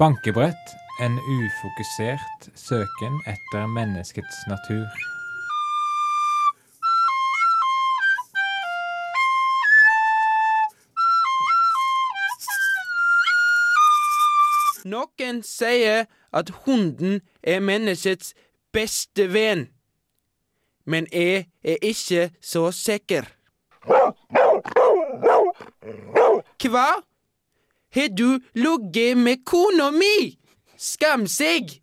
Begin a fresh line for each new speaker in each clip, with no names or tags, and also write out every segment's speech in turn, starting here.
Bankebrett en ufokusert søken etter menneskets natur.
Noen sier at hunden er menneskets beste venn. Men jeg er ikke så sikker. Hva? Har du ligget med kona mi? Skam seg!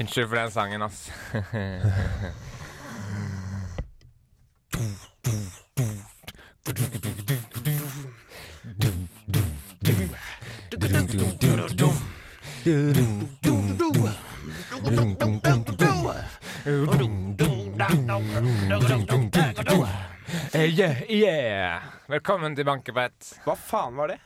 Unnskyld for den sangen, ass. Eh, Yeah, yeah. Velkommen til Bankebrett.
Hva faen var det?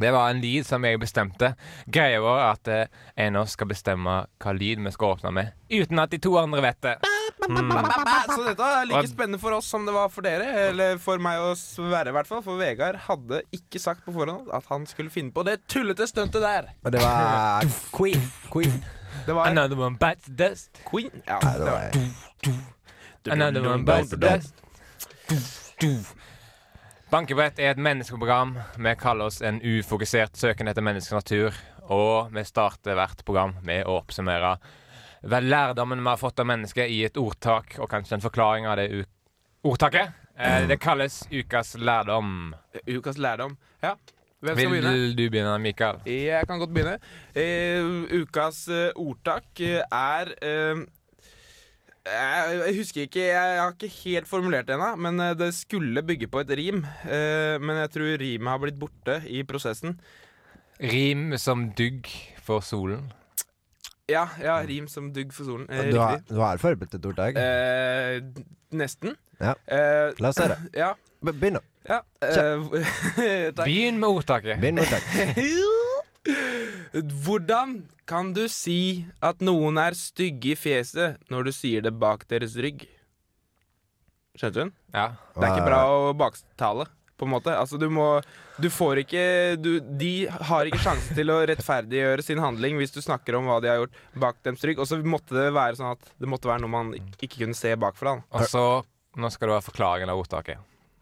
Det var en lyd som jeg bestemte. Greia var at eh, jeg nå skal bestemme hva lyd vi skal åpne med, uten at de to andre vet det.
Så dette er like spennende for oss som det var for dere. Eller for meg og Sverre, i hvert fall. For Vegard hadde ikke sagt på forhånd at han skulle finne på det tullete stuntet der.
Og det var Queen. Queen.
Det var
Another one bites the dust.
Queen. Ja,
Ja, det var
Another one bites the dust. Bankebrett er et menneskeprogram. Vi kaller oss en ufokusert søken etter menneskets natur. Og vi starter hvert program med å oppsummere hva lærdommen vi har fått av mennesket i et ordtak, og kanskje en forklaring av det u ordtaket. Eh, Det kalles ukas lærdom.
ukas lærdom. Ja, hvem skal begynne?
Vil du begynne, Mikael?
Jeg kan godt begynne. Eh, ukas eh, ordtak eh, er eh, jeg jeg husker ikke, jeg har ikke helt formulert det ennå, men eh, det skulle bygge på et rim. Eh, men jeg tror rimet har blitt borte i prosessen.
Rim som dugg for solen.
Ja, ja rim som dugg for solen. Eh,
Du har,
riktig.
du har forberedt et ordtak.
Eh, nesten.
Ja.
Eh,
La oss høre.
ja.
Be- Begynn nå.
ja. Eh, takk.
Begynn med ordtaket.
Begynn med ordtak.
Hvordan kan du si at noen er stygge i fjeset når du sier det bak deres rygg? Skjønte du den?
Ja.
Det er ikke bra å baktale, på en måte. Altså, du må Du får ikke du, De har ikke sjanse til å rettferdiggjøre sin handling hvis du snakker om hva de har gjort bak deres rygg. Og så måtte det være sånn at det måtte være noe man ik- ikke kunne se bakfra. da.
Og så Nå skal du ha forklaringen av ordtaket.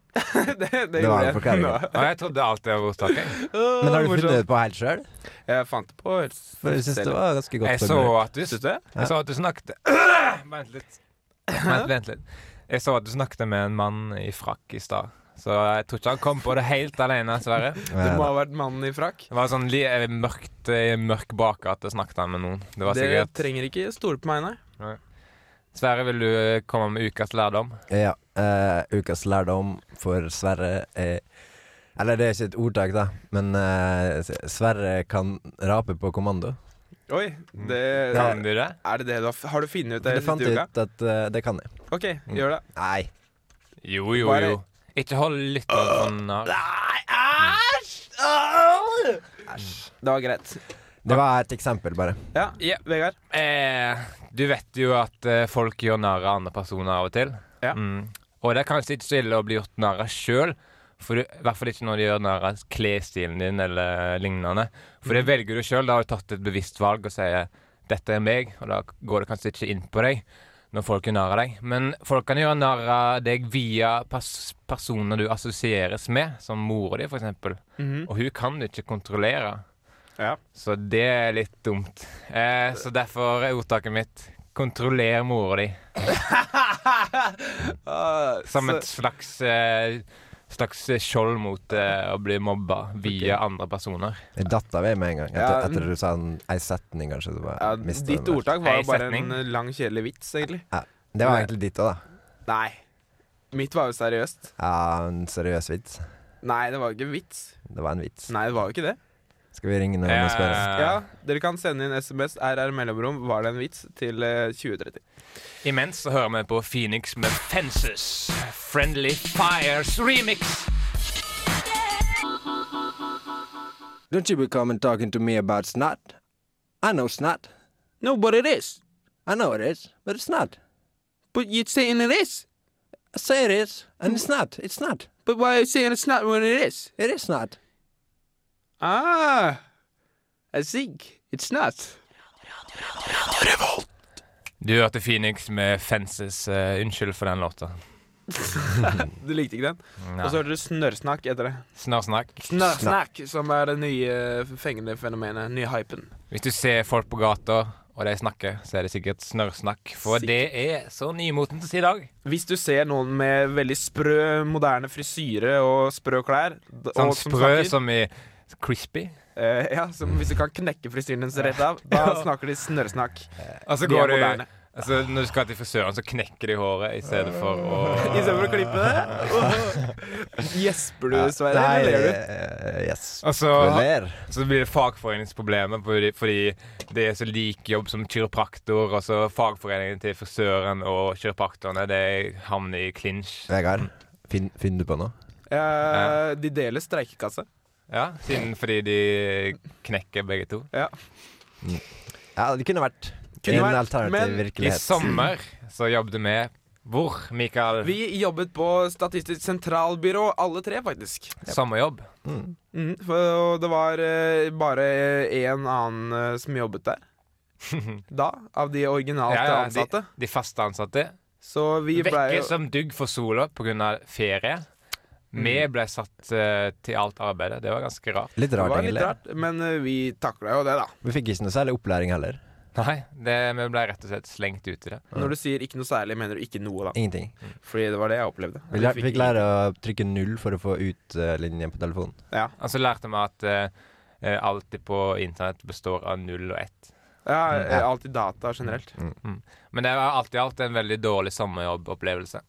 Det, det
var
gjorde
en
jeg.
forklaring.
Nå.
Og jeg trodde alt det var ordtaket.
Men har du
Morsomt.
funnet det på helt sjøl?
Jeg fant det på helt
For jeg syns det var ganske godt.
Jeg så
formulert.
at du,
Syns du det?
jeg så at du snakket Vent litt. Vent, vent litt. Jeg så at du snakket med en mann i frakk i stad. Så jeg tror ikke han kom på det helt alene, dessverre.
Det
Ja,
må
da.
ha vært mannen i frakk.
Det var sånn li eh, mørkt eh, mørk bakgate snakket han med noen. Det var
Dere
sikkert
trenger ikke stole på meg, nei.
Sverre, vil du eh, komme med ukas lærdom?
Ja. eh, ukas lærdom for Sverre er Eller det er ikke et ordtak, da, men eh, Sverre kan rape på kommando.
Oi, det,
Kan du det?
Er det det du har, har du funnet ut Mm. det
Det fant
siste
jeg
uka?
ut at eh, det kan jeg.
Ok, gjør det.
Nei.
Jo, jo,
Bare-
jo. Ikke hold lytteren for narr.
Det var Mm. greit.
Det var et eksempel, bare.
Ja,
Ja.
Vegard.
Eh, du vet jo at eh, folk gjør narr av andre personer av og til.
Ja.
Mm. Og det er kanskje ikke så ille å bli gjort narr av sjøl. I hvert fall ikke når de gjør narr av klesstilen din eller lignende. For det velger du sjøl. Da har du tatt et bevisst valg og sier 'dette er meg', og da går det kanskje ikke inn på deg når folk gjør narr av deg. Men folk kan gjøre narr av deg via pers personer du assosieres med, som mora di, for eksempel.
Mhm.
Mm.
Og hun kan du ikke kontrollere.
Ja.
Så det er litt dumt. Eh, så derfor er ordtaket mitt 'kontroller mora di'
Ah,
som
så-
et slags eh, Slags skjold mot eh, å bli mobba via andre personer.
Jeg datta ved med en gang.
Ja,
Etter, etter du sa en, ei setning, kanskje. Så bare
ja,
mistet
ditt
den der.
ordtak var
Hei,
jo bare
setning.
en eh, lang, kjedelig vits, egentlig.
Ja, det var egentlig ditt òg, da.
Nei. Mitt var jo seriøst.
Ja, en seriøs vits.
Nei, det var jo ikke vits.
Det var en vits.
Nei, det var jo ikke det.
Skal vi ringe noen og spørre?
Eh,
Ja, Dere kan sende inn SMS RR mellomrom 'Var det en vits?' til eh, 2030.
Imens så hører vi på Phoenix med Fences. Friendly Fires remix.
Don't you be coming talking to me about snot? I know snot.
No, but it is.
I know it is, but it's not.
But you're saying it is.
I said it, and it's not. It's not.
But why are you saying it's not when it is?
It is not.
Ah, I think it's not.
Du hørte Phoenix med 'Fences'. eh, unnskyld for den låta.
Du likte ikke den? Og så hørte du Snørrsnakk etter det.
Snarrsnakk.
Snørrsnakk, som er det nye fengende fenomenet. Nye hypen.
Hvis du ser folk på gata, og de snakker, så er det sikkert snørrsnakk. For
Sikkert.
det er så nymotens i dag.
Hvis du ser noen med veldig sprø, moderne frisyre og sprø klær d-
Sånn
og som
sprø
snakker,
som i crispy.
eh, Ja, som hvis du kan knekke frisyren deres rett av, da snakker de snørrsnakk.
Og så
De er
går du
moderne.
altså, Når du skal til frisøren, så knekker de håret i stedet for å
Istedenfor å klippe det. Gjesper du, Sverre,
Nei,
eller ler du?
eh, yes.
Og så,
Jeg ler.
så blir det fagforeningsproblemet fordi, fordi det er så lik jobb som kiropraktor. Og så fagforeningen til frisøren og kiropraktorene De havner i clinch.
Vegard, fin- finner du på noe?
Eh, de deler streikekasse.
Ja, siden fordi de knekker begge to.
Ja, det kunne vært
Kunne
en
vært,
alternativ
men i
I
virkelighet.
sommer så jobbet vi hvor, Mikael?
Vi jobbet på Statistisk sentralbyrå, alle tre, faktisk.
Sommerjobb.
Mm.
Mm, for, og det var eh, bare én annen eh, som jobbet der. Da, av de originalt
Ja, ja, de-
ansatte.
De fast ansatte
Så vi ble
vekke
jo
som dugg for sola pga. ferie.
Mm.
Vi ble satt eh, til alt arbeidet. Det var ganske rart.
Litt
Det
rart,
var litt
egentlig.
rart, men eh, vi takla jo det, da.
Vi fikk ikke noe særlig opplæring heller.
Nei, det, vi ble rett og slett slengt ut i det.
Når du sier 'ikke noe særlig', mener du ikke noe, da.
Ingenting.
Fordi det var det jeg opplevde.
Vi lær, fikk lære å trykke null for å få ut eh, linjen på telefonen.
Ja,
Og så lærte vi at uh, alt på internett består av null og ett.
ja eh,
Ja.
alltid data generelt.
Mm.
Men det var alt i alt en veldig dårlig sommerjobbopplevelse.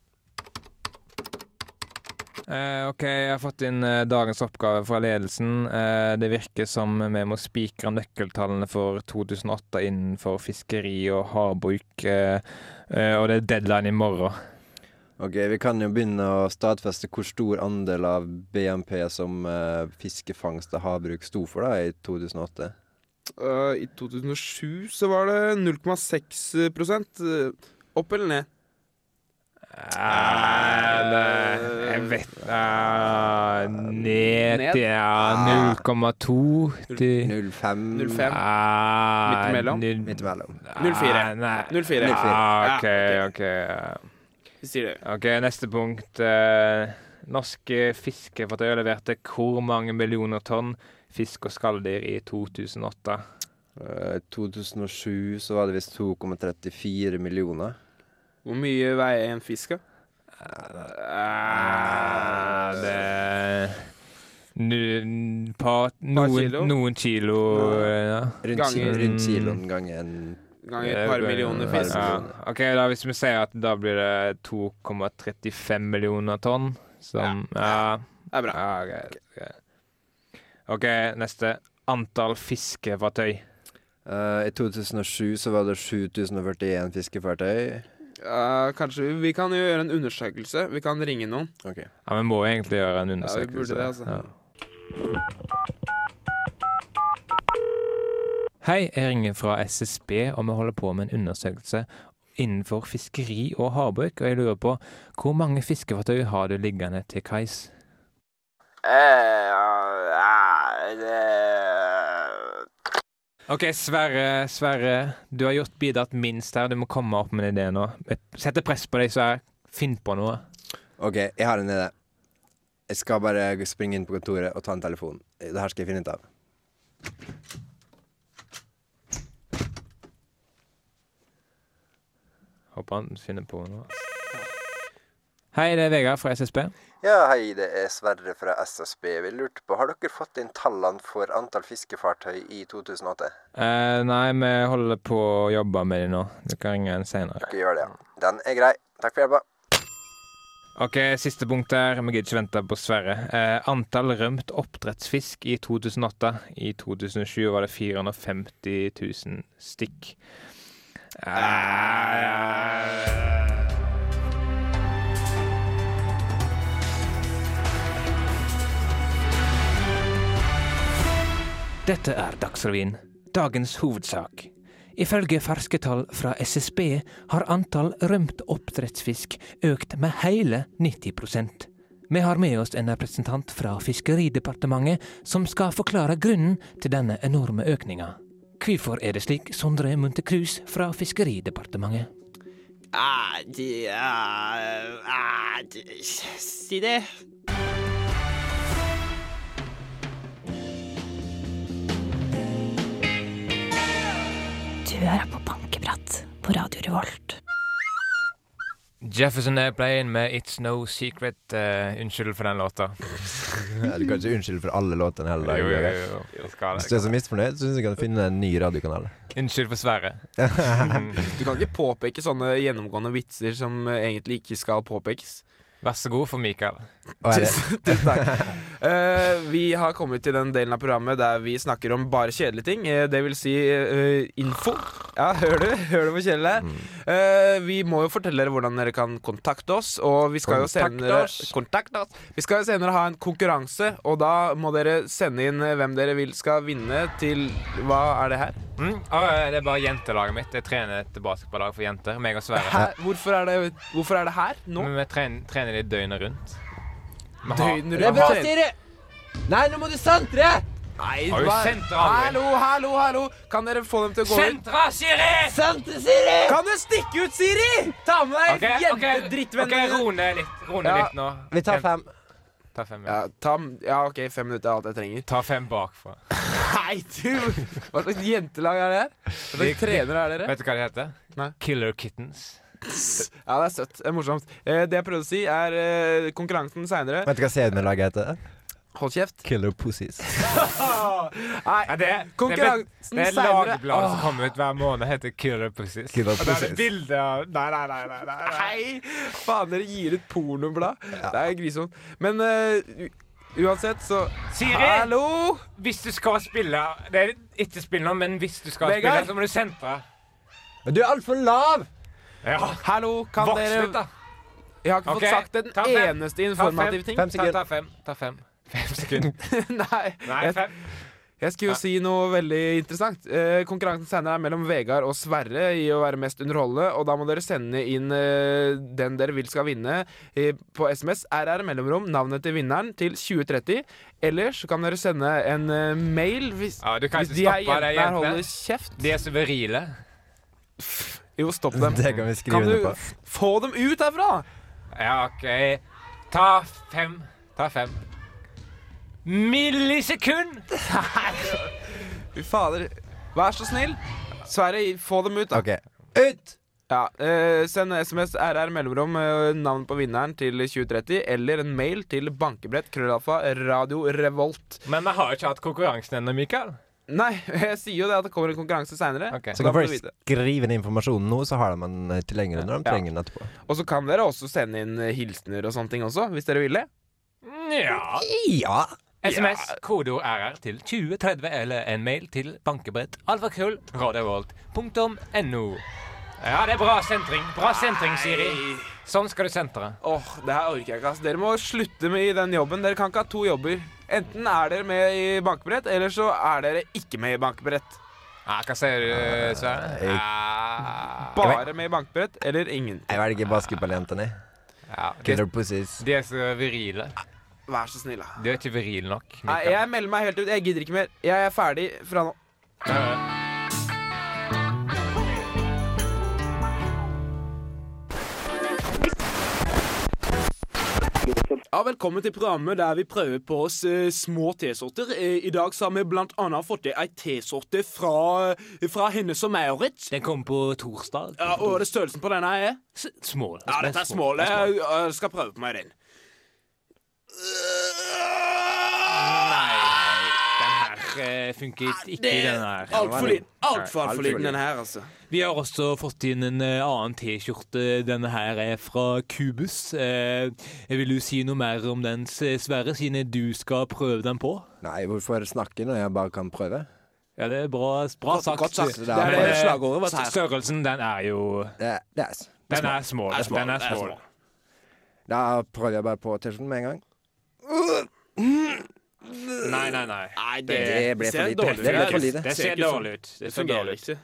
Eh, OK, jeg har fått inn eh, dagens oppgave fra ledelsen. Eh, det virker som vi må spikre nøkkeltallene for 2008 innenfor fiskeri og havbruk. Eh, eh, og det er deadline i morgen.
Ok, Vi kan jo begynne å stadfeste hvor stor andel av BNP som eh, fiskefangst og havbruk sto for da i 2008.
Eh, I 2007 så var det 0,6 prosent. Eh, Opp eller ned? Ah,
Eh, jeg vet eh, Ned til
Ah.
ja, 0,2 til
05
0,5?
Ah,
Midt imellom?
null-
Midt imellom.
04.
Ah, Nei.
0,4.
Ah, OK,
Ja,
OK.
Vi sier det.
Ok, Neste punkt. eh, norske fiskefartøy leverte hvor mange millioner tonn fisk og skalldyr i 2008?
Eh, 2007 så var det visst 2,34 millioner.
Hvor mye veier en fisk, da?
Ah, det nu, par,
Par
noen,
kilo?
noen kilo eh, ja.
Rundt,
Ganger-
kilo- rundt kiloen ganger en
Ganger et par
Eh,
millioner
par
fisk.
Ja. Ok, da Hvis vi sier at da blir det 2,35 millioner tonn som ja.
Det er bra.
Ja, greit, greit. Ah, OK, neste. Antall fiskefartøy.
Eh, I 2007 så var det 7041 fiskefartøy.
Ja, Eh, kanskje vi, vi kan jo gjøre en undersøkelse. Vi kan ringe noen.
Ok.
Ja, Vi må egentlig gjøre en
Ja, vi burde
undersøkelse.
det, altså.
Hei, jeg ringer fra SSB, og vi holder på med en undersøkelse innenfor fiskeri og havbruk. Og jeg lurer på hvor mange fiskefartøy har du liggende til kais?
Eh,
OK, Sverre, Sverre. Du har gjort bidratt minst her. Du må komme opp med en idé nå. Jeg setter press på deg, Sverre. Finn på noe.
OK, jeg har en idé. Jeg skal bare springe inn på kontoret og ta en telefon. Det her skal jeg finne ut av.
Håper han finner på noe. Hei, det er Vegard fra SSB.
Ja, hei, det er Sverre fra SSB. Vi lurte på, har dere fått inn tallene for antall fiskefartøy i 2008?
Eh, nei, vi holder på å jobbe med det nå. Du kan ringe en senere.
Dere gjør det, ja. Den er grei. Takk for hjelpa.
OK, siste punkt der. Vi gidder ikke vente på Sverre. Eh, antall rømt oppdrettsfisk i 2008. I 2007 var det 450 000 stykk. Ah, Eh, Dette er Dagsrevyen, dagens hovedsak.
Ifølge ferske tall fra SSB har antall rømt oppdrettsfisk økt med hele 90 Vi har med oss en representant fra Fiskeridepartementet som skal forklare grunnen til denne enorme økninga. Hvorfor er det slik, Sondre Munthe Krus fra Fiskeridepartementet?
Ah, de, ah, ah, de, si det.
Du hører på Bankeprat på Radio Revolt.
Jefferson Airplane med It's No Secret. eh, unnskyld for den låta.
Du kan ikke unnskylde for alle låtene hele
Jo, jo,
dagen.
jo, jo. Skal
Hvis du er
det.
så misfornøyd, så syns jeg du kan finne en ny radiokanal.
Unnskyld for Mm. Sverre.
Du kan ikke påpeke sånne gjennomgående vitser som eh, egentlig ikke skal påpekes.
Vær så god for Mikael.
Og er det,
Tusen tusen takk. Eh, vi har kommet til den delen av programmet der vi snakker om bare kjedelige ting. eh, det vil si eh, info. Ja, hører du? Hører du hvor kjedelig det er? Eh, vi må jo fortelle dere hvordan dere kan kontakte oss. Og vi skal jo senere Kontakt oss. Vi skal jo senere ha en konkurranse, og da må dere sende inn eh, hvem dere vil skal vinne til Hva er det her?
Mm. ah, det er bare jentelaget mitt. Jeg trener et basketballag for jenter. Meg og Sverre.
Hæ? Hvorfor er det, hvorfor er det her nå?
Men vi trener, trener de døgnet rundt. Vi har-
Døgnet rundt.
Vi har-
Siri! Nei, nå må du sentre!
Nei,
Har du
hva-
sendt det aldri?
hallo, hallo, hallo! Kan dere få dem til å gå ut?
Sentra, Siri!
Sentre, Siri!
Kan du stikke ut, Siri? Ta med deg
Ok, ok,
jentedrittvenner.
ok, ro ned litt, ro ned
Ja,
litt nå.
vi tar fem.
Ta fem, ja.
Ja, ta, ja, OK, fem minutter er alt jeg trenger.
Ta fem bakfra.
Nei, du! Hva slags jentelag er det her? Hva slags trenere er dere?
Vet du hva de heter?
Nei.
Killer Kittens.
Ja, det er søtt. Det er morsomt. Eh, det jeg prøvde å si, er eh, konkurransen seinere.
Vet du hva seniorlaget heter?
Hold kjeft.
Killer Pussies.
Ja,
Nei,
det, er-
konkurransen
Det er et
seinere
lagblad som kommer ut hver måned, heter Killer Pussies.
Killer
Og da er det
Pussies.
bilde av Nei, nei, nei. nei, nei, nei.
Nei! Faen, dere gir ut pornoblad. Det er grisomt. Men eh, u- uansett, så
Siri,
Hallo!
hvis du skal spille Det er ikke spill nå, men hvis du skal
Vegard?
spille, så må du sentre.
Du er altfor lav!
Ja.
Hallo, kan
Voks
dere
litt, da.
Jeg har ikke
Ok,
fått sagt
ta
en
fem.
eneste
Ta
informativ ting.
Fem
Ta,
sekunder.
ta fem. Ta fem. Fem sekunder.
Nei.
Nei,
Jeg-
fem.
Jeg skulle jo si noe veldig interessant. Eh, konkurransen senere er mellom Vegard og Sverre i å være mest underholdende, og da må dere sende inn eh, den dere vil skal vinne eh, på SMS RR mellomrom, navnet til vinneren, til 2030. Eller så kan dere sende en eh, mail hvis,
Ja, du kan
hvis
ikke
de her
stoppe de
jentene her
jentene.
holder kjeft.
De er så virile.
Jo, stopp dem.
Det kan vi skrive
Kan
under
du
på.
f- få dem ut herfra?
Ja, OK. Ta fem. Ta fem. Millisekund!
Fy fader. Vær så snill. Sverre, få dem ut, da.
OK.
Ut! Ja, eh, Send SMS RR mellomrom eh, navn på vinneren til 2030, eller en mail til bankebrett krøllalfa radio revolt.
Men vi har jo ikke hatt konkurransen ennå, Mikael.
Nei, jeg sier jo det at det kommer en konkurranse seinere.
Ok.
Da
Så kan
får du
folk
vite.
skrive inn informasjonen nå, så har de den eh, tilgjengelig når de
Ja.
trenger den etterpå.
Og så kan dere også sende inn eh, hilsener og sånne ting også, hvis dere vil det.
Nja
Ja.
SMS, kodeord RR til 2030 eller en mail til bankebrett alfakrøll radiovolt.no. Ja, det er bra sentring. Bra sentring, Siri. Sånn skal du sentre.
Åh, det her orker jeg ikke, ass. Dere må slutte med i den jobben. Dere kan ikke ha to jobber. Enten er dere med i bankebrett, eller så er dere ikke med i bankebrett.
Ja, hva sier du, Sverre?
jeg-
Ja,
Bare med i bankebrett, eller ingen.
Jeg velger basketballjentene.
ja, de,
Killer Pussies.
de er så virile.
Vær så snill, da.
Du er ikke viril nok. Mikael.
Nei, jeg melder meg helt ut. Jeg gidder ikke mer. Jeg er ferdig fra nå.
Ja, Velkommen til programmet der vi prøver på oss eh, små T-sorter. Eh, I dag så har vi blant annet fått til ei T-sorte fra, fra Hennes og Maurits.
Den kommer på torsdag.
Ja, og det størrelsen på denne er?
S- Small.
Ja, dette er smål. Jeg, jeg skal prøve på meg den.
Den her eh, funket ikke,
Det
den
er
her.
altfor liten. Altfor altfor liten, den her, altså.
Vi har også fått inn en eh, annen T-skjorte. Denne her er fra Cubus. Eh, vil du si noe mer om den, S- Sverre, siden du skal prøve den på?
Nei, hvorfor snakke når jeg bare kan prøve?
Ja, det er bra, bra sagt.
Godt sagt.
Det
Det
er
er det
bare-
slagordet var her.
Størrelsen, den er jo
Det, det er s-
Den er small.
Det er small,
Den er
det er
small.
small.
Da prøver jeg bare på T-skjorten med en gang.
Nei, nei, nei.
Nei,
Det ble
ser
for lite.
dårlig
Det ble
ut.
Eh,
for lite.
Det ser dårlig ut. Det
Det
ser
fungerer
dårlig ut.
ikke.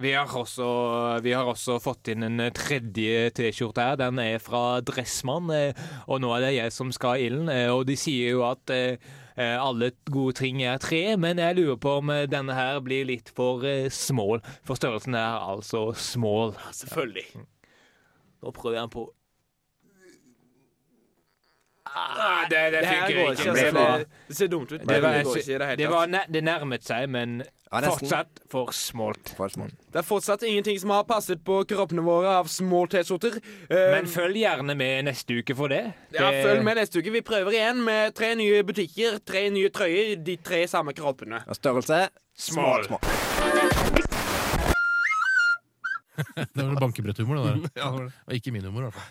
Vi har, også, vi har også fått inn en tredje T-skjorte her. Den er fra Dressmann, eh, og nå er det jeg som skal ha ilden. eh, Og de sier jo at eh, eh, alle gode ting er tre, men jeg lurer på om eh, denne her blir litt for eh, small. For størrelsen er altså small.
Ja, selvfølgelig.
Nå prøver jeg den på.
Ah, det, det
her
funker
går
ikke.
ikke,
det,
altså.
var, det ser dumt ut.
Det, var,
går ikke i det hele
det,
tatt.
var, nær- det nærmet seg, men
Ja, nesten.
fortsatt for smalt.
For
Mm.
små.
Det er fortsatt ingenting som har passet på kroppene våre av små T-skjorter. Eh,
Men følg gjerne med neste uke for det. det
ja, følg med neste uke. Vi prøver igjen med tre nye butikker, tre nye trøyer, de tre samme kroppene.
Og størrelse
Small.
Små.
Det var bankebretthumor, det der. Og ikke min humor, i hvert fall.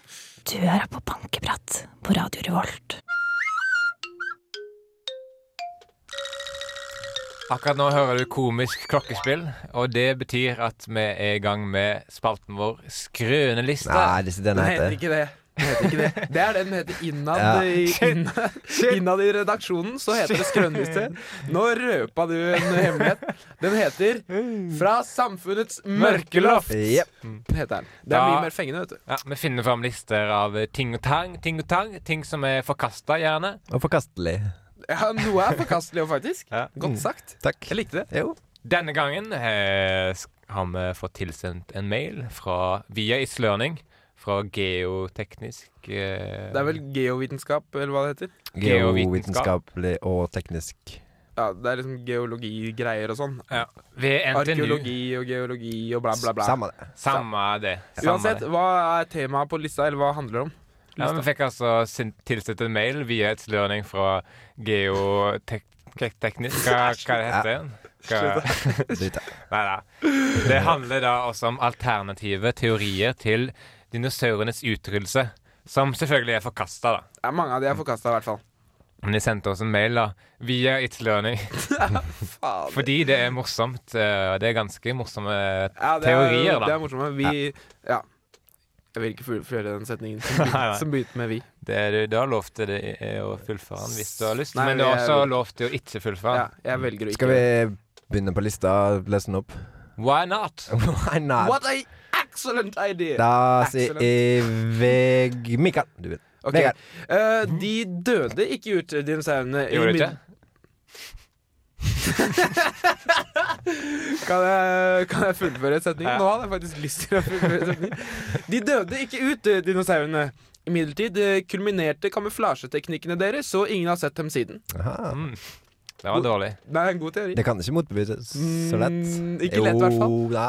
Du hører på Bankeprat på Radio Revolt.
Akkurat nå hører du komisk klokkespill, og det betyr at vi er i gang med spalten vår Skrøneliste.
Nei, det er ikke den
Den
det
heter
heter.
ikke det. Den heter ikke det. det er den den heter innad,
Ja.
i, innad, innad i redaksjonen. Så heter det Skrønliste. Nå røpa du en hemmelighet. Den heter Fra samfunnets mørkeloft.
Jep.
Den heter den. Det er
Da-
mye mer fengende, vet du.
Ja, vi finner fram lister av eh, ting og tang, ting og tang, ting som er forkasta, gjerne.
Og forkastelig.
Ja, noe er forkastelig òg, faktisk.
Ja.
Godt sagt.
Takk.
Jeg likte det.
Jo.
Denne gangen eh, sk- har vi fått tilsendt en mail fra, via Islørning fra geoteknisk eh,
Det er vel geovitenskap, eller hva det heter.
Geovitenskap.
Geovitenskapelig og teknisk.
Ja, Det er liksom geologigreier og sånn.
ja, Ved NTNU.
Arkeologi og geologi og bla, bla, bla.
Samme det.
Samme det. Samme
Uansett,
det.
hva er temaet på lista, eller hva handler det om?
Ja, men vi fikk altså sin- tilsendt en mail via Islørning fra geoteknisk Hva, hva det heter igjen? Hva-
Drit i.
Nei da. Det handler da også om alternative teorier til dinosaurenes utryddelse. Som selvfølgelig er forkasta, da.
Ja, mange av de er forkasta, i hvert fall.
Men de sendte oss en mail da via It's Learning
Fader.
fordi det er morsomt. eh, Det er ganske morsomme
Ja, det
teorier,
er, Det
da.
er morsomt. Vi Ja. Jeg vil ikke full- fullføre den setningen som
Nei, nei.
begynte- som begynte med 'vi'.
Det er, du har lov til det eh, å fullføre den hvis du har lyst,
Nei,
men du har
vi er-
også lov til å ikke fullføre
Ja,
den.
jeg velger å ikke
Skal vi begynne på lista og lese den opp?
Why not?
What
Why not?
a excellent idea!
Da sier
Excellent.
jeg Veg... Mikael. Du begynner.
Ok.
Vegard.
Eh, de døde ikke ut, eh, dinosaurene. i
Gjorde du
mid-
ikke?
Kan jeg, kan jeg fullføre setningen? Nå hadde jeg faktisk lyst til å fullføre setningen. De døde ikke ut, eh, dinosaurene. Imidlertid eh, kulminerte kamuflasjeteknikkene deres, så ingen har sett dem siden.
Aha.
Mm. Det var dårlig.
Det er en god teori.
Det kan ikke motbevises så lett.
Mm, ikke lett, i hvert fall.
Jo, da.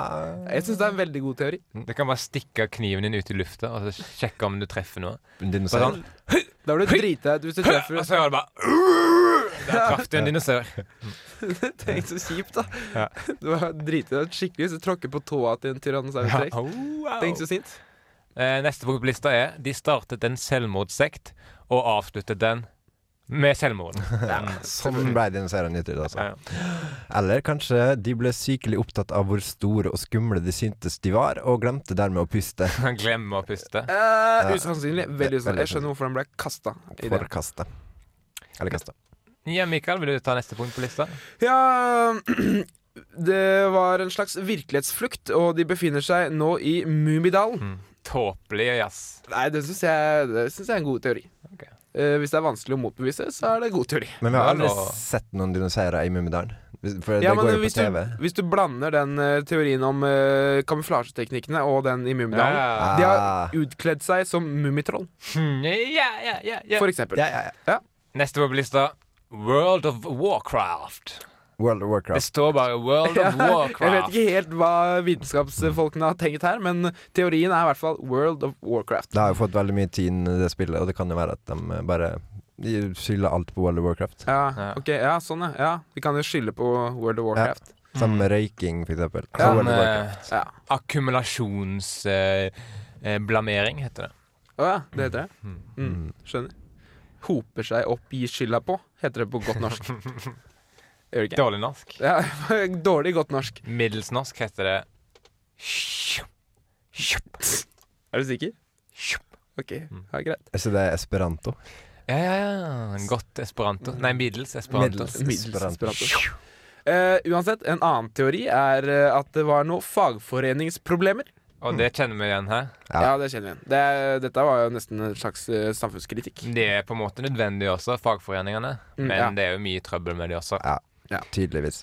Jeg syns det er en veldig god teori.
Du kan bare stikke kniven din ut i lufta og så sjekke om du treffer noe.
Dinosaur.
Sånn.
Da blir du drita ut hvis du treffer
Og så hører du bare Der traff du en dinosaur.
Tenk så kjipt, da. Du har driti deg ut skikkelig hvis du tråkker på tåa til en tyrannosaurus rex.
Oh, wow.
Tenk så sint.
Eh, Neste punkt på lista er De startet en selvmordssekt og avsluttet den med selvmord. Mm.
Sånn ble dinosauren nyttig, altså.
Ja.
Eller kanskje de ble sykelig opptatt av hvor store og skumle de syntes de var, og glemte dermed å puste.
Han glemmer å puste.
Eh, usannsynlig. Veldig usannsynlig. Jeg skjønner hvorfor den ble kasta.
Forkaste. Eller kaste.
Ja, Mikael, vil du ta neste punkt på lista?
Ja Det var en slags virkelighetsflukt, og de befinner seg nå i Mummidalen.
Tåpelig jazz.
Nei, det syns jeg, det synes jeg er en god teori.
Ok.
Eh, hvis det er vanskelig å motbevise, så er det en god teori.
Men vi har
Det er
aldri
lov.
sett noen dinosaurer i Mummidalen. Hvis- For
Ja,
det
men
går jo på
hvis, du,
TV.
hvis du blander den eh, teorien om eh, kamuflasjeteknikkene og den i Mummidalen
Ja, Mm,
De
Ah.
har utkledd seg som mummitroll,
ja, ja, ja, ja.
for eksempel.
Ja, ja, ja.
Neste punkt på lista World of Warcraft.
World of
Det
Warcraft.
står bare World of
Jeg vet
Warcraft.
ikke helt hva vitenskapsfolkene har tenkt her, men teorien er i hvert fall World of Warcraft.
Det har jo fått veldig mye tid inn i det spillet, og det kan jo være at de eh, bare de skylder alt på World of Warcraft.
Ja,
Ja.
ok, ja, sånn ja. ja. Vi kan jo skylde på World of Warcraft. Mm.
Som røyking, for eksempel.
Ja,
World
Sånn
of Warcraft.
eh,
Ja.
akkumulasjonsblamering, eh, blamering heter det. Hmm.
Å ja, det heter det? Mm, skjønner. Hoper seg opp, gir skylda på, heter det på godt norsk. Gjør det ikke?
Dårlig norsk.
Ja, dårlig godt norsk.
Middels norsk heter det Sjup. Sjup.
Er du sikker?
Sjup.
Ok, ja, greit.
Så det er esperanto.
Ja, ja, ja. Godt esperanto. Nei, middels esperanto.
Middels
Middels
esperanto.
esperanto. Eh, uansett, en annen teori er eh, at det var noen fagforeningsproblemer.
Og det kjenner vi igjen her.
Ja.
Ja, det kjenner vi igjen. Det, er- dette var jo nesten en slags eh, samfunnskritikk.
De er på en måte nødvendige også, fagforeningene.
Mm,
Men
ja.
det er jo mye trøbbel med de også.
Tydeligvis.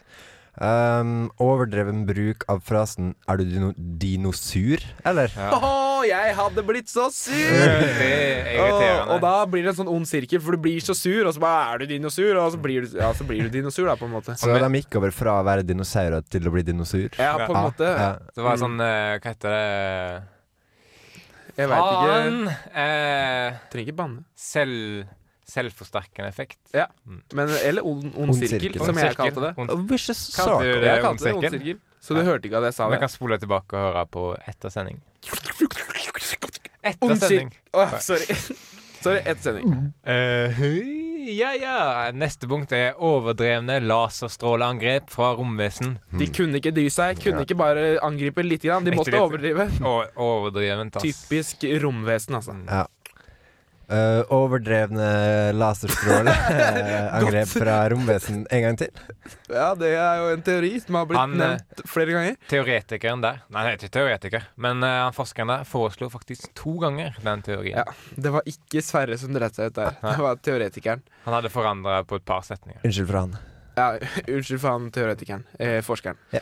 Um, overdreven bruk av frasen 'er du dino dinosur', eller?
Åh, jeg hadde blitt så sur!
Det er
Og,
irriterende.
og da blir det en sånn ond sirkel, for du blir så sur, og så bare er du dinosaur, og så blir du, ja, så blir du dinosaur, da, på en måte.
Så de gikk over fra å være dinosaurer til å bli dinosaur?
Ja, på en måte.
Ja.
Det
Mm.
var sånn eh, Hva heter det?
Jeg veit ikke.
Faen! Eh,
Trenger ikke banne.
selv, selvforsterkende effekt.
Ja. Men, eller ond, ond
Ond
sirkel,
sirkel.
som
Ond
jeg
sirkel.
kalte det.
Ond-
Og vicious
Kalte
circle.
du det
Jeg
ond
kalte det ond
sirkel?
sirkel, så du hørte ikke at jeg sa
Vi
det.
kan spole tilbake og høre på etter sending. Etter
Ond
sending.
sirkel. Åh, sorry. sorry, ett
Mm.
sending.
Eh, høy, ja, ja. Neste punkt er overdrevne laserstråleangrep fra romvesen.
Hmm.
De kunne ikke dy seg. Kunne ikke bare angripe lite grann. De
Ikke
måtte
litt.
overdrive.
Og overdrevent, ass.
Typisk romvesen, altså.
Uh, overdrevne laserstråleangrep fra romvesen en gang til.
Ja, det er jo en teori som har blitt
Han, eh,
nevnt flere ganger.
Teoretikeren der Nei, han er ikke teoretiker, men eh, han forskeren der foreslo faktisk to ganger den teorien.
Ja. Det var ikke Sverre som dreit seg ut der. Det var teoretikeren.
Han hadde forandra på et par setninger.
Unnskyld for han.
Ja, unnskyld for han teoretikeren. Eh, forskeren.
Ja.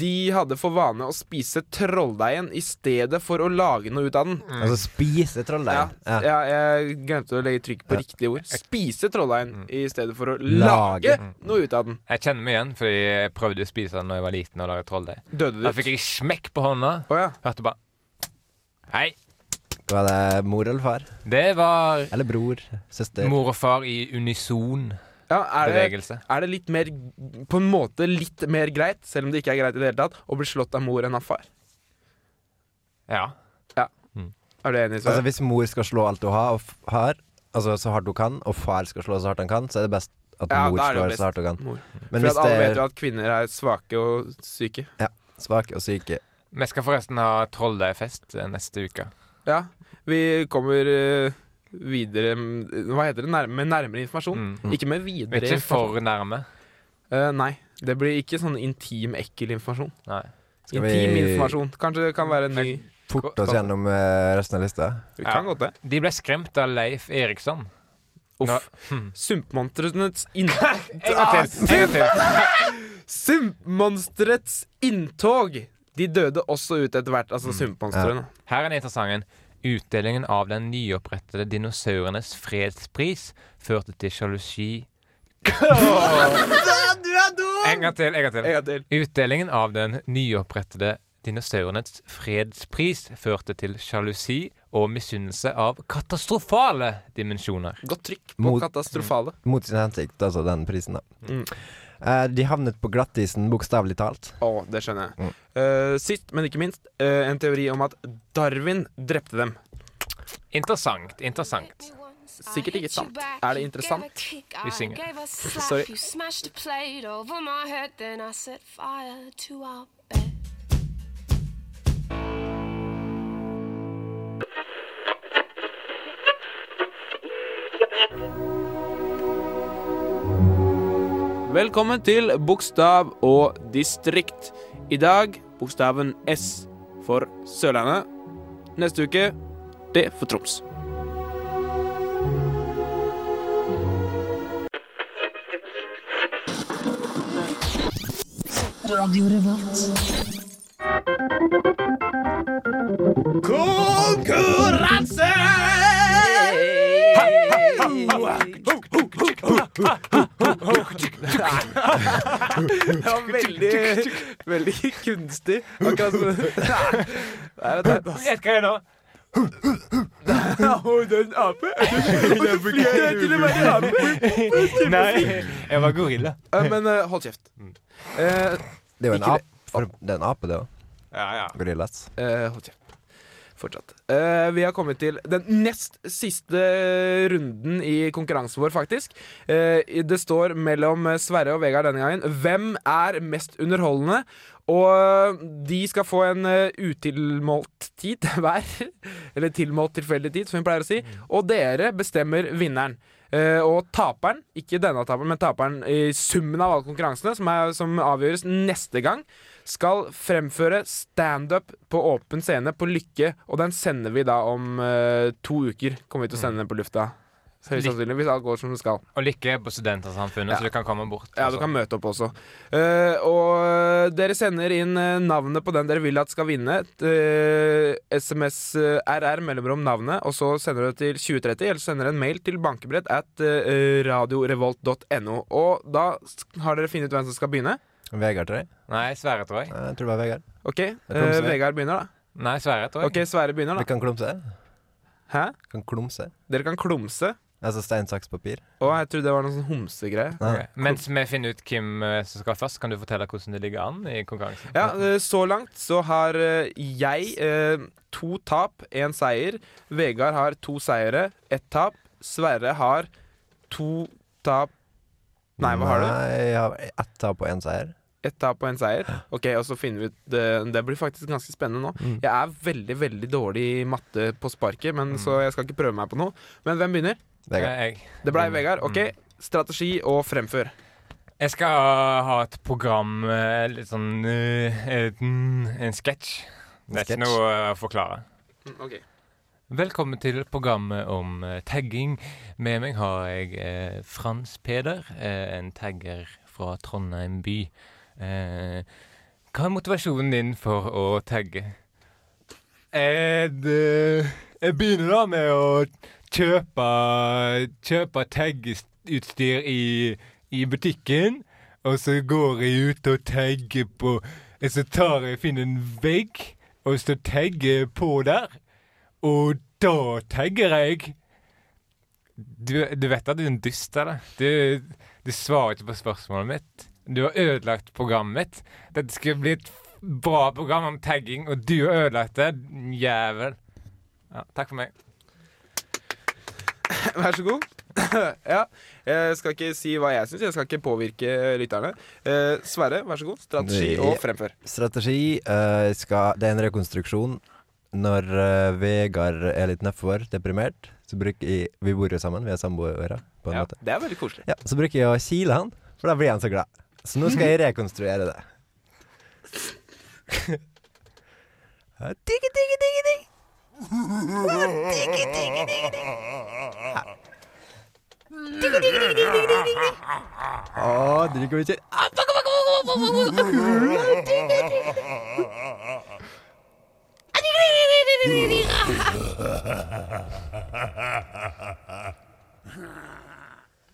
De hadde for vane å spise trolldeigen i stedet for å lage noe ut av den.
Mm.
Altså spise trolldeigen.
Mm. Ja.
Ja.
jeg glemte å legge trykk på riktig ord. Spise
Mm.
trolldeigen i stedet for å lage
Lage.
noe ut av den.
Jeg kjenner meg igjen, fordi jeg prøvde å spise den da jeg var liten og lage trolldeig.
Døde
Da
du?
fikk jeg smekk på hånda.
Å ja.
Hørte bare Hei.
Var det mor eller far?
Det var
Eller bror? Søster?
mor og far i unison
ja. Er det,
bevegelse.
er det litt mer På en måte litt mer greit, selv om det ikke er greit i det hele tatt, å bli slått av mor enn av far?
Ja.
Er du enig,
Altså
Sverre?
Hvis mor skal slå alt hun har, og f har altså, så hardt hun kan, og far skal slå så hardt han kan, så er det best at
Ja,
mor
da er det jo
slår
best.
så hardt hun kan.
Mor.
Men
for
hvis
at alle
det
vet
er
jo at kvinner er svake og syke.
svake og syke
Vi skal forresten ha trolldeigfest eh, neste uke.
Ja, vi kommer eh, videre mm, Hva heter det? Nær med nærmere informasjon.
Mm.
Ikke med
Vi
videre
er ikke
informasjon.
for nærme.
Eh, nei. Det blir ikke sånn intim, ekkel informasjon.
Nei.
Skal vi-
intim informasjon. Kanskje det kan være en ny
Forte oss gjennom eh, resten av lista.
Vi
Ja.
kan godt det.
De ble skremt av Leif Eriksson. Hm.
Uff. Sumpmonsterets inntog
En gang til. En gang til.
Sumpmonsterets inntog! De døde også ut etter hvert, altså
Mm.
sumpmonstrene.
Her er den interessante. en. Utdelingen av den nyopprettede dinosaurenes fredspris førte til sjalusi En gang til. En gang til.
En gang til.
Utdelingen av den nyopprettede dinosaurenes fredspris førte til sjalusi og misunnelse av katastrofale dimensjoner.
Godt trykk på
Mot-
katastrofale.
Mot sin hensikt, altså den prisen, da.
Mm.
Eh, de havnet på glattisen, bokstavelig talt.
Å, det skjønner jeg. Eh, sist, men ikke minst, eh, en teori om at Darwin drepte dem.
Interessant. Interessant.
Sikkert ikke sant. Er det interessant?
Vi synger.
Sorry.
Sorry.
Velkommen til Bokstav og distrikt. I dag bokstaven S for Sørlandet. Neste uke D for Troms.
Radio Revolt.
Det var veldig, veldig kunstig. Akkurat som Nei, det er teit, ass.
Gjett hva jeg nå?
Og det er en ape. Og så flyr jeg til å være en ape.
Nei, jeg var gorilla.
Eh, Men eh, hold kjeft. Eh,
Det er jo en
Ikke
ape. For, det er en ape, det òg.
Ja, ja.
Gorillas.
Eh, hold kjeft. Fortsatt. Eh, vi har kommet til den nest siste runden i konkurransen vår, faktisk. Eh, i- det står mellom eh, Sverre og Vegard denne gangen. Hvem er mest underholdende? Og eh, de skal få en eh, utilmålt tid hver. Eller tilmålt tilfeldig tid, som vi pleier å si. Og dere bestemmer vinneren.
Eh, og taperen, ikke denne taperen, men taperen i summen av alle konkurransene, som, er, som avgjøres neste gang, skal fremføre standup på åpen scene på Lykke. Og den sender vi da om eh, to uker. Kommer vi til å sende den på lufta. Så
Lykke-
Høyst
altså.
sannsynlig, hvis alt går som det skal.
Og Lykke er på Studentersamfunnet,
Ja.
så du kan komme bort. altså.
Ja,
og
du
så.
kan møte opp også. Eh, og dere sender inn eh, navnet på den dere vil at skal vinne. Eh, SMS eh, RR mellomrom navnet, og så sender dere til 2030, eller så sender dere en mail til bankebrett at eh, radiorevolt.no. Og da s- har dere funnet ut hvem som skal begynne.
Vegard, tror jeg.
Nei, Sverre, tror jeg.
Nei, Jeg tror det var Vegard.
OK, eh,
klumser.
Vegard begynner, da.
Nei, Sverre, tror jeg.
OK, Sverre begynner,
Vi
da.
kan klumse.
Hæ?
Kan klumse.
Dere kan klumse.
Altså stein, saks, papir.
Å, jeg trodde det var noe sånn homsegreie.
Nei.
Ok. Mens vi finner ut hvem eh, som skal først, kan du fortelle hvordan det ligger an i konkurransen?
Ja, eh, så langt så har eh, jeg eh, to tap, én seier. Vegard har to seire, ett tap. Sverre har to tap Nei, hva har du?
Nei, jeg har ett tap og én seier.
Ett tap og én seier. Ok, og så finner vi ut eh, Det blir faktisk ganske spennende nå. Jeg er veldig, veldig dårlig i matte på sparket, men så jeg skal ikke prøve meg på noe. Men hvem begynner?
Vegard.
Eh, Jeg,
Det blei Vegard. Ok, strategi og fremfør.
jeg skal ha- ha et program, eh, litt sånn eh, et- mm, En sketsj. Det er
sketsj.
ikke noe eh, å forklare.
Ok
Velkommen til programmet om eh, tagging. Med meg har jeg eh, Frans Peder, eh, en tagger fra Trondheim by. Eh, hva er motivasjonen din for å tagge? eh, jeg begynner da med å kjøpe, kjøpe taggeutstyr i, i butikken. Og så går jeg ut og tagger på eh, Så tar jeg finner en vegg, og så tagger jeg på der. Og da tagger jeg du, du vet at du er en dust, eller? Du, du svarer ikke på spørsmålet mitt. Du har ødelagt programmet mitt. Dette skulle bli et f- bra program om tagging, og du har ødelagt det. din Jævel. Ja, takk for meg.
Vær så god. ja. Jeg skal ikke si hva jeg syns, jeg skal ikke påvirke lytterne. Eh, Sverre, vær så god. Strategi og fremfør.
Strategi eh, jeg skal, Det er en rekonstruksjon. Når eh, Vegard er litt nedfor, deprimert, så bruker jeg Vi bor jo sammen, vi er samboere, på en
Ja,
måte.
det er veldig koselig.
Ja, så bruker jeg å kile han, for da blir han så glad. Så nå skal jeg rekonstruere det. Ja, Digge, digge, digge, digge. Ja, Digge, digge, digge, digge. Ja. Digge, digge, digge, digge, digge, digge. Å, drikker vi ikke Ah, fuck, fuck, fuck, fuck, fuck, fuck, fuck. Ja, digge, digge. Ah, digge, digge, digge, digge, digge.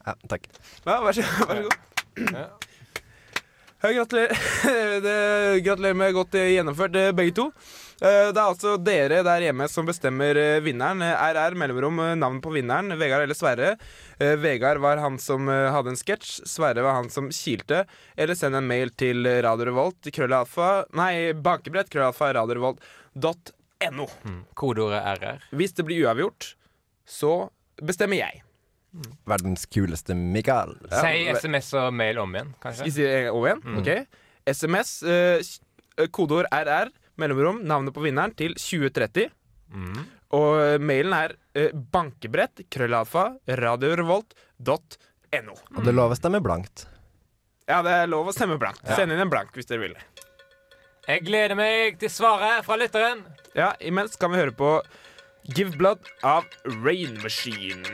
Ja, takk.
Ja, vær, så, vær så god. Ja, gratulerer. Det- gratulerer med godt eh, gjennomført, eh, begge to. Eh, Det er altså dere der hjemme som bestemmer eh, vinneren. Eh, RR, mellomrom, eh, navn på vinneren. Vegard eller Sverre. Eh, Vegard var han som eh, hadde en sketsj. Sverre var han som kilte. Eller send en mail til eh, Radio Revolt, krøllalfa Nei, bankebrett, krøllalfa, radiorevolt.no.
Hmm. Kodeordet RR.
Hvis det blir uavgjort, så bestemmer jeg.
Verdens kuleste Mikael.
Ja,
Si
ve-
SMS og mail om igjen,
Skal
kanskje.
vi si det over igjen? Ok. SMS, eh, s- eh, kodeord RR, mellomrom, navnet på vinneren til 2030.
Hmm.
Og eh, mailen er eh, bankebrett, krøllalfa, radiorevolt.no.
Og det loves dem er blankt.
Ja, det er lov å stemme blankt. Send inn en blank hvis dere vil.
Jeg gleder meg til svaret fra lytteren.
Ja, imens kan vi høre på Give Blood av Rain Machine.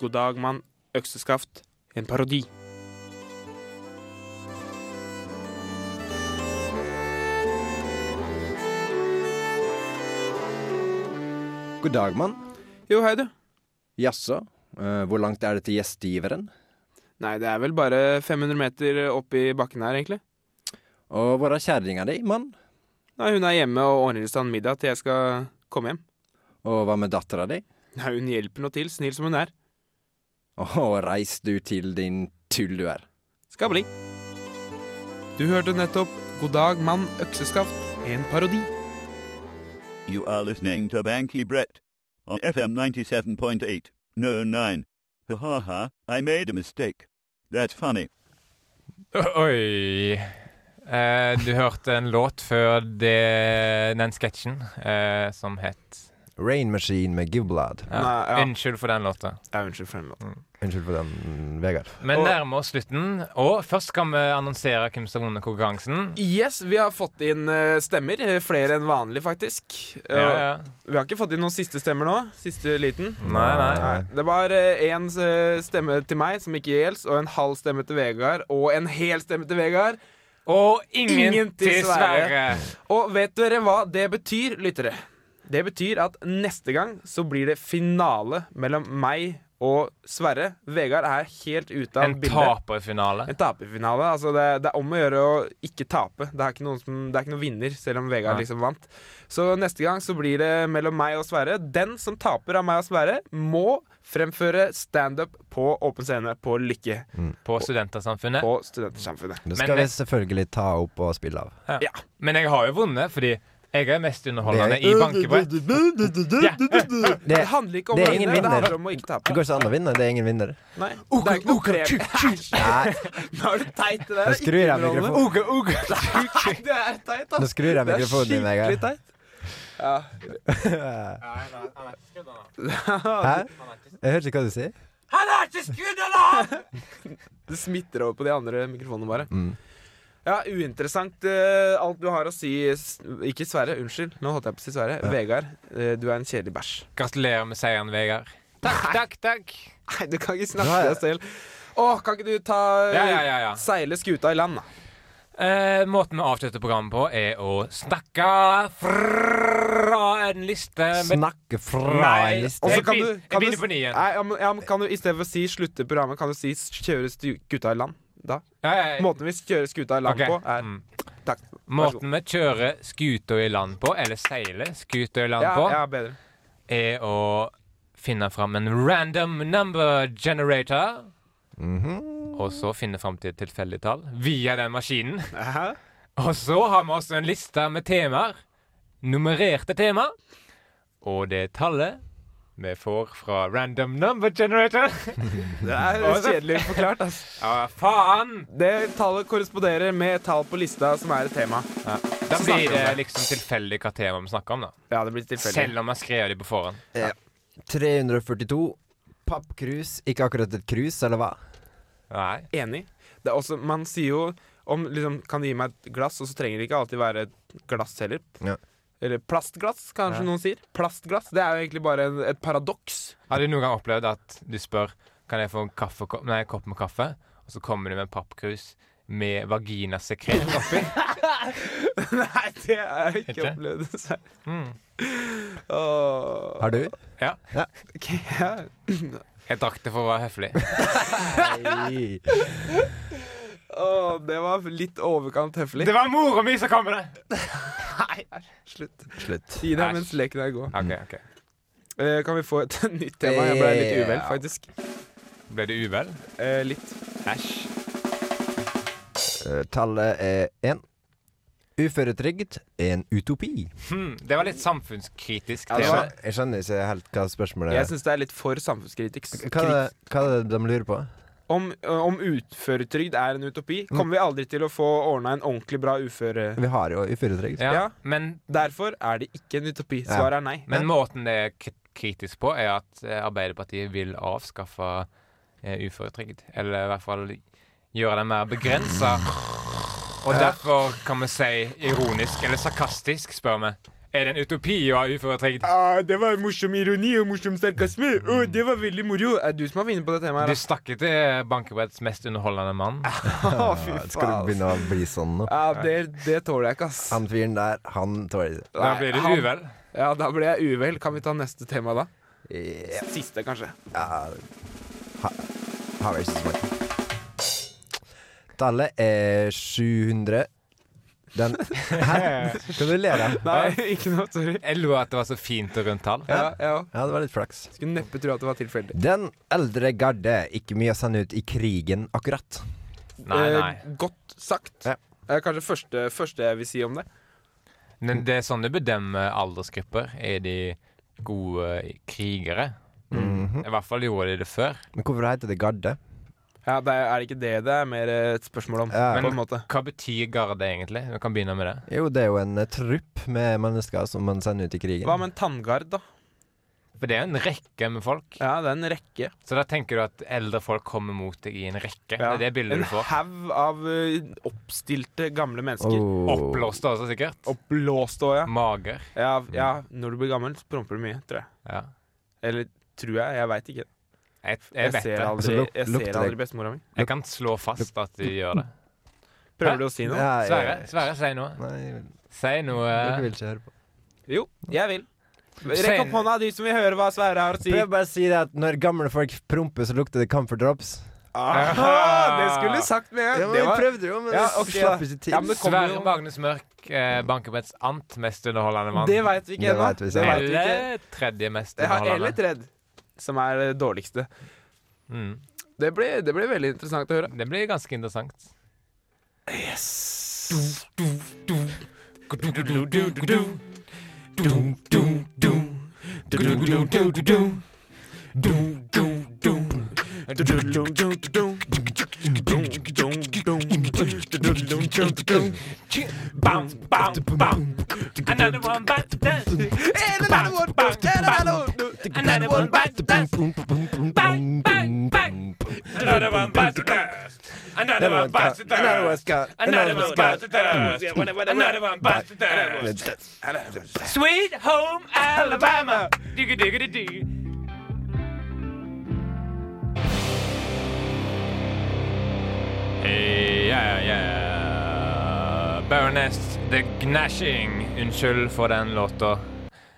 God dag, mann. Økseskaft. En parodi.
God dag, mann.
Jo, hei, du.
Jaså, eh, hvor langt er det til gjestgiveren?
Nei, det er vel bare 500 meter opp i bakken her, egentlig.
Og hvor er kjerringa di, mann?
Nei, hun er hjemme og ordner i stand middag til jeg skal komme hjem.
Og hva med dattera di?
Nei, hun hjelper nå til, snill som hun er.
Å, reis du til din tull du er.
Skal bli. Du hørte nettopp God dag, mann, økseskaft, en parodi.
You are listening to Banky Brett on FM 97.8. No, 9. Ha ha ha, I made a mistake. That's funny.
Oi. Eh, du hørte en låt før det, den sketsjen eh, som het
Rain Machine med Give Blood.
Ja. Unnskyld for den låta.
Ja, unnskyld for den låten.
Unnskyld for den, Vegard.
Vi nærmer oss slutten, og først skal vi annonsere hvem som har vunnet konkurransen.
Yes, vi har fått inn eh, stemmer. eh, Flere enn vanlig, faktisk. Eh,
Ja, ja.
Vi har ikke fått inn noen siste stemmer nå. Siste liten.
Nei, nei.
Det var én stemme til meg, som ikke gjelder, og en halv stemme til Vegard, og en hel stemme til Vegard.
Og ingen til Sverre.
Og vet dere hva det betyr, lyttere? Det betyr at neste gang så blir det finale mellom meg og Sverre. Vegard er helt ute av
En
bildet.
taperfinale.
En taperfinale. Altså det, det er om å gjøre å ikke tape. Det er ikke noen, som, det er ikke noen vinner, selv om Vegard
Nei.
liksom vant. Så neste gang så blir det mellom meg og Sverre. Den som taper av meg og Sverre, må fremføre standup på åpen scene på Lykke.
På Studentersamfunnet.
På Studentersamfunnet.
Det
Men-
skal vi selvfølgelig ta opp og spille av.
Ja. Men jeg har jo vunnet, fordi jeg er mest underholdende i bankebrett. Ja.
Det,
Det handler ikke om
det
å
er ingen
vinne, det handler
vinner.
om å ikke
Det
tape.
går ikke an å vinne. Det er ingen vinner.
Nei, det er ikke noe premie.
Nei,
Nå er du teit, det der.
nå
er
skrur jeg
ikke underholdende.
mikrofonen.
Det er teit, ass.
Nå skrur jeg
Det er
mikrofonen din,
skikkelig
Vegard.
teit. Ja.
Hæ? Jeg hørte ikke hva du sier.
Det smitter over på de andre mikrofonene bare.
Mm.
Ja, uinteressant eh, alt du har å si. S- Ikke Sverre, unnskyld. Nå holdt jeg på å si Sverre. Vegard, eh, du er en kjedelig bæsj.
Gratulerer med seieren, Vegard. Takk, takk, takk.
Nei, du kan ikke snakke
Nei.
til deg selv. Å, kan ikke du ta eh,
Ja, ja, ja, ja.
Seile skuta i land, da.
Eh, måten vi avslutter programmet på, er å snakke fra en liste med
Snakke fra
Eh, Nei,
en
og
liste.
så- begynner- jeg begynner på ny igjen.
Nei, ja, men- ja, men kan du i stedet for å si slutte programmet, kan du si s- kjøre stu- skuta i land? Da.
Ja, ja, ja.
Måten vi kjører skuta i land
Ok.
på, er
Mm.
Takk. Vær så god.
Måten vi kjører skuta i land på, eller seiler skuta i land
ja,
på,
ja, bedre.
er å finne fram en random number generator.
Mhm.
Og så finne fram til et tilfeldig tall via den maskinen.
Hæ?
Og så har vi også en liste med temaer. Nummererte tema. Og det tallet vi får fra random number generator.
Det er kjedelig forklart, ass.
Ja, faen!
Det tallet korresponderer med et tall på lista som er et tema.
Da
Så snakker
blir
vi om
det
det.
liksom tilfeldig hva tema vi snakker om, da.
Ja, det blir tilfeldig.
Selv om jeg skrev det på forhånd.
342. Pappkrus. Ikke akkurat et krus, eller hva?
Nei.
Enig. Det er også, man sier jo om liksom, Kan du gi meg et glass? Og så trenger det ikke alltid være et glass heller.
Ja.
Eller plastglass, kanskje noen sier. Plastglass. Det er jo egentlig bare en, et paradoks.
Har du noen gang opplevd at du spør Kan jeg få en kaffe, nei, en kopp med kaffe, og så kommer du med en pappkrus med vaginasekret oppi?
Nei, det har jeg ikke
Ikke?
opplevd. dessverre.
Mm.
Åh.
Har du?
Ja.
Ok, ja.
Jeg drakk det for å være høflig.
Nei.
Åh, det var litt overkant høflig.
Det var mora mi som kom med det!
Nei, slutt.
Slutt.
Gi deg
Æsj.
mens leken er god.
OK, ok.
Eh, kan vi få et nytt tema? Jeg ble litt uvel, faktisk.
Ble du uvel?
Eh, litt.
Æsj.
Eh, Tallet er én. Uføretrygd. En utopi.
Hmm, det var litt samfunnskritisk
Ja,
Jeg
det
tema.
var-
skjønner, jeg skjønner ikke helt hva spørsmålet
Jeg
er.
syns det er litt for samfunnskritisk.
Hva er, det, hva er det de lurer på?
Om, eh, om uføretrygd er en utopi,
Mm.
kommer vi aldri til å få ordna en ordentlig bra uføre...
Vi har jo uføretrygd.
Ja,
Ja.
men,
Derfor er det ikke en utopi.
Ja.
Svaret er nei.
men måten det er kri- kritisk på, er at eh, Arbeiderpartiet vil avskaffe eh, uføretrygd. Eller i hvert fall gjøre den mer begrensa. Og derfor kan vi si ironisk eller sarkastisk, spør vi. Er det en utopi å ha uføretrygd?
Ah, det var morsom ironi og morsom sarkasme.
Mm.
Å, det var veldig moro. Er du som har vunnet på det temaet?
Du
da?
snakker til bankebretts mest underholdende mann.
Ah, Å, fy
Ja, Skal du
faen.
begynne å bli sånn nå?
Ja, det, det tåler jeg ikke, ass.
Han fyren der, han tåler det.
Da
Nei,
blir du
han-
uvel.
Ja, da ble jeg uvel. Kan vi ta neste tema da?
Ja,
Siste, kanskje.
har vi ikke så mange. Tallet er 700. Den Hæ? Skal du le av?
Nei, ikke noe. Sorry.
Jeg lo at det var så fint og rundt tall.
Ja, ja.
Ja, det var litt flaks.
Skulle neppe tro at det var tilfeldig.
Den eldre garde, ikke mye å sende ut i krigen, akkurat.
Nei, nei.
Eh, godt sagt.
Ja.
Det er kanskje første, første jeg vil si om det.
Men det er sånn du bedømmer aldersgrupper. Er de gode krigere?
Mm.
I hvert fall gjorde de det før.
Mhm. Men hvorfor heter det garde?
Ja, det er, er det ikke det det er mer eh, et spørsmål om?
Ja.
På
Men-
en måte.
Hva betyr garde egentlig? Vi kan begynne med det.
Jo, det er jo en eh, trupp med mennesker som man sender ut i krigen.
Hva med en tanngard, da?
For det er jo en rekke med folk.
Ja, det er en rekke.
Så da tenker du at eldre folk kommer mot deg i en rekke? Det er det bildet
en
du får?
haug av eh, oppstilte gamle mennesker.
Oh.
Åh.
Oppblåste også, sikkert.
Oppblåst òg, ja.
Mm. Mager.
ja. Ja, når du blir gammel, så promper du mye, tror jeg.
Ja.
Eller tror jeg, jeg veit ikke.
Jeg, jeg
Jeg
vet
ser
det.
Altså,
aldri,
luk-
jeg
lukter
ser aldri
det.
bestemora mi.
Jeg kan slå fast at de gjør det. Hæ?
Prøver du å si noe?
Nei,
Sverre,
jeg-
Sverre, si noe.
Nei, jeg vil-
Si noe.
Dere vil ikke høre på.
Jo, jeg vil. Rekk
Sen-
opp hånda, de som vil høre hva Sverre har å si.
Prøv bare å si det at når gamle folk promper, så lukter det camphor drops.
Ah, det skulle du sagt med en gang. Det var-
prøvde jo, men
Ja,
du
ok, da.
slapp ikke til.
Ja, men det kommer
Sverre
jo-
Magnus Mørk eh, banker på et annet mest underholdende mann.
Det veit vi ikke
Det
ennå.
vet vi ikke.
Det vet vi ikke.
Eller tredje mest
Jeg har eller
underholdende.
tredd, som er det dårligste.
Mm.
Det blir, det blir veldig interessant å høre.
Det blir ganske interessant. Another one bites the dust. Another one bites the dust. Another one bites the dust. Bang, bang, bang. Another one bites the dust. Another one bites the dust.
Another one bites-
Another one bites the dust. Another one bites the dust. Sweet home Alabama. Digga, digga, digga. Eh, Ja, ja, ja. Baroness The Gnashing. Unnskyld for den låta.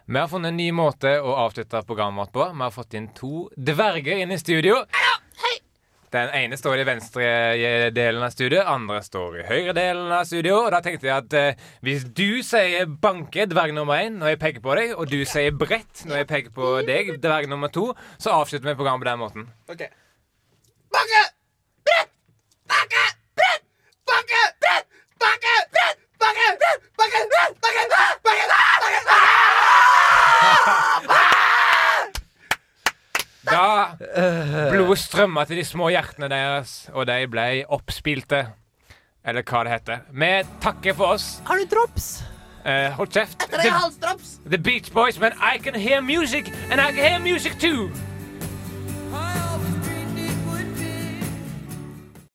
Vi har funnet en ny måte å avslutte programmet vårt på. Vi har fått inn to dverger inn i studio. Den ene står i venstre eh, delen av studio, andre står i høyre delen av studio. Og da tenkte jeg at eh, hvis du sier banke, dverg nummer én, når jeg peker på deg, og du sier brett når jeg peker på deg, dverg nummer to, så avslutter vi programmet på den måten. Da blodet strømma til de små hjertene deres, og de ble oppspilte. Eller hva det heter. Vi takker for oss. Eh, Har du drops? hold kjeft. The, the Beach Boys, men I can hear music, and I can hear music too.